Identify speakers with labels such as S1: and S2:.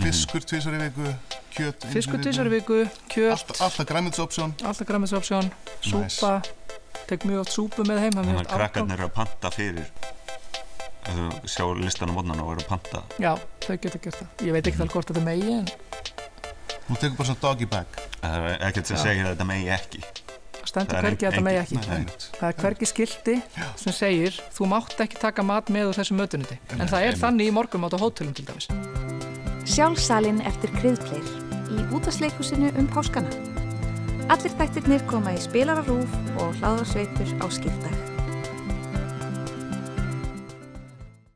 S1: fiskur tvisar í viku, kjöt einu
S2: Fiskur
S1: sinni
S2: tvisar í viku, kjöt,
S1: Allt- Alltaf græmiðsopsjón
S2: alltaf græmisopsjón, súpa, tek mjög oft súpu með heim. það er mjög
S3: Þannig
S2: oft
S3: að krakkarnir
S2: afgang.
S3: eru að panta fyrir ef þú sjá listan á mótnana og eru að panta
S2: Já, þau geta gert það. Ég veit
S3: Mhm.
S2: ekki alveg hvort þetta megi en
S1: Þú tekur bara svona doggy bag
S3: það er ekkert sem segir að þetta megi ekki Það
S2: stendur
S3: er
S2: hvergi að þetta
S3: engin-
S2: megi ekki.
S1: Nei, einmitt.
S2: Það er hvergi skildi sem segir þú mátt ekki taka mat með úr þessu mötunuti. En það er þannig í morgunmátt á hótelum til dæmis.
S4: Sjálfsalinn eftir kriðpleir í útasleikusinu um páskana. Allir þættirnir koma í spilararúf og hláðarsveitur á skildag.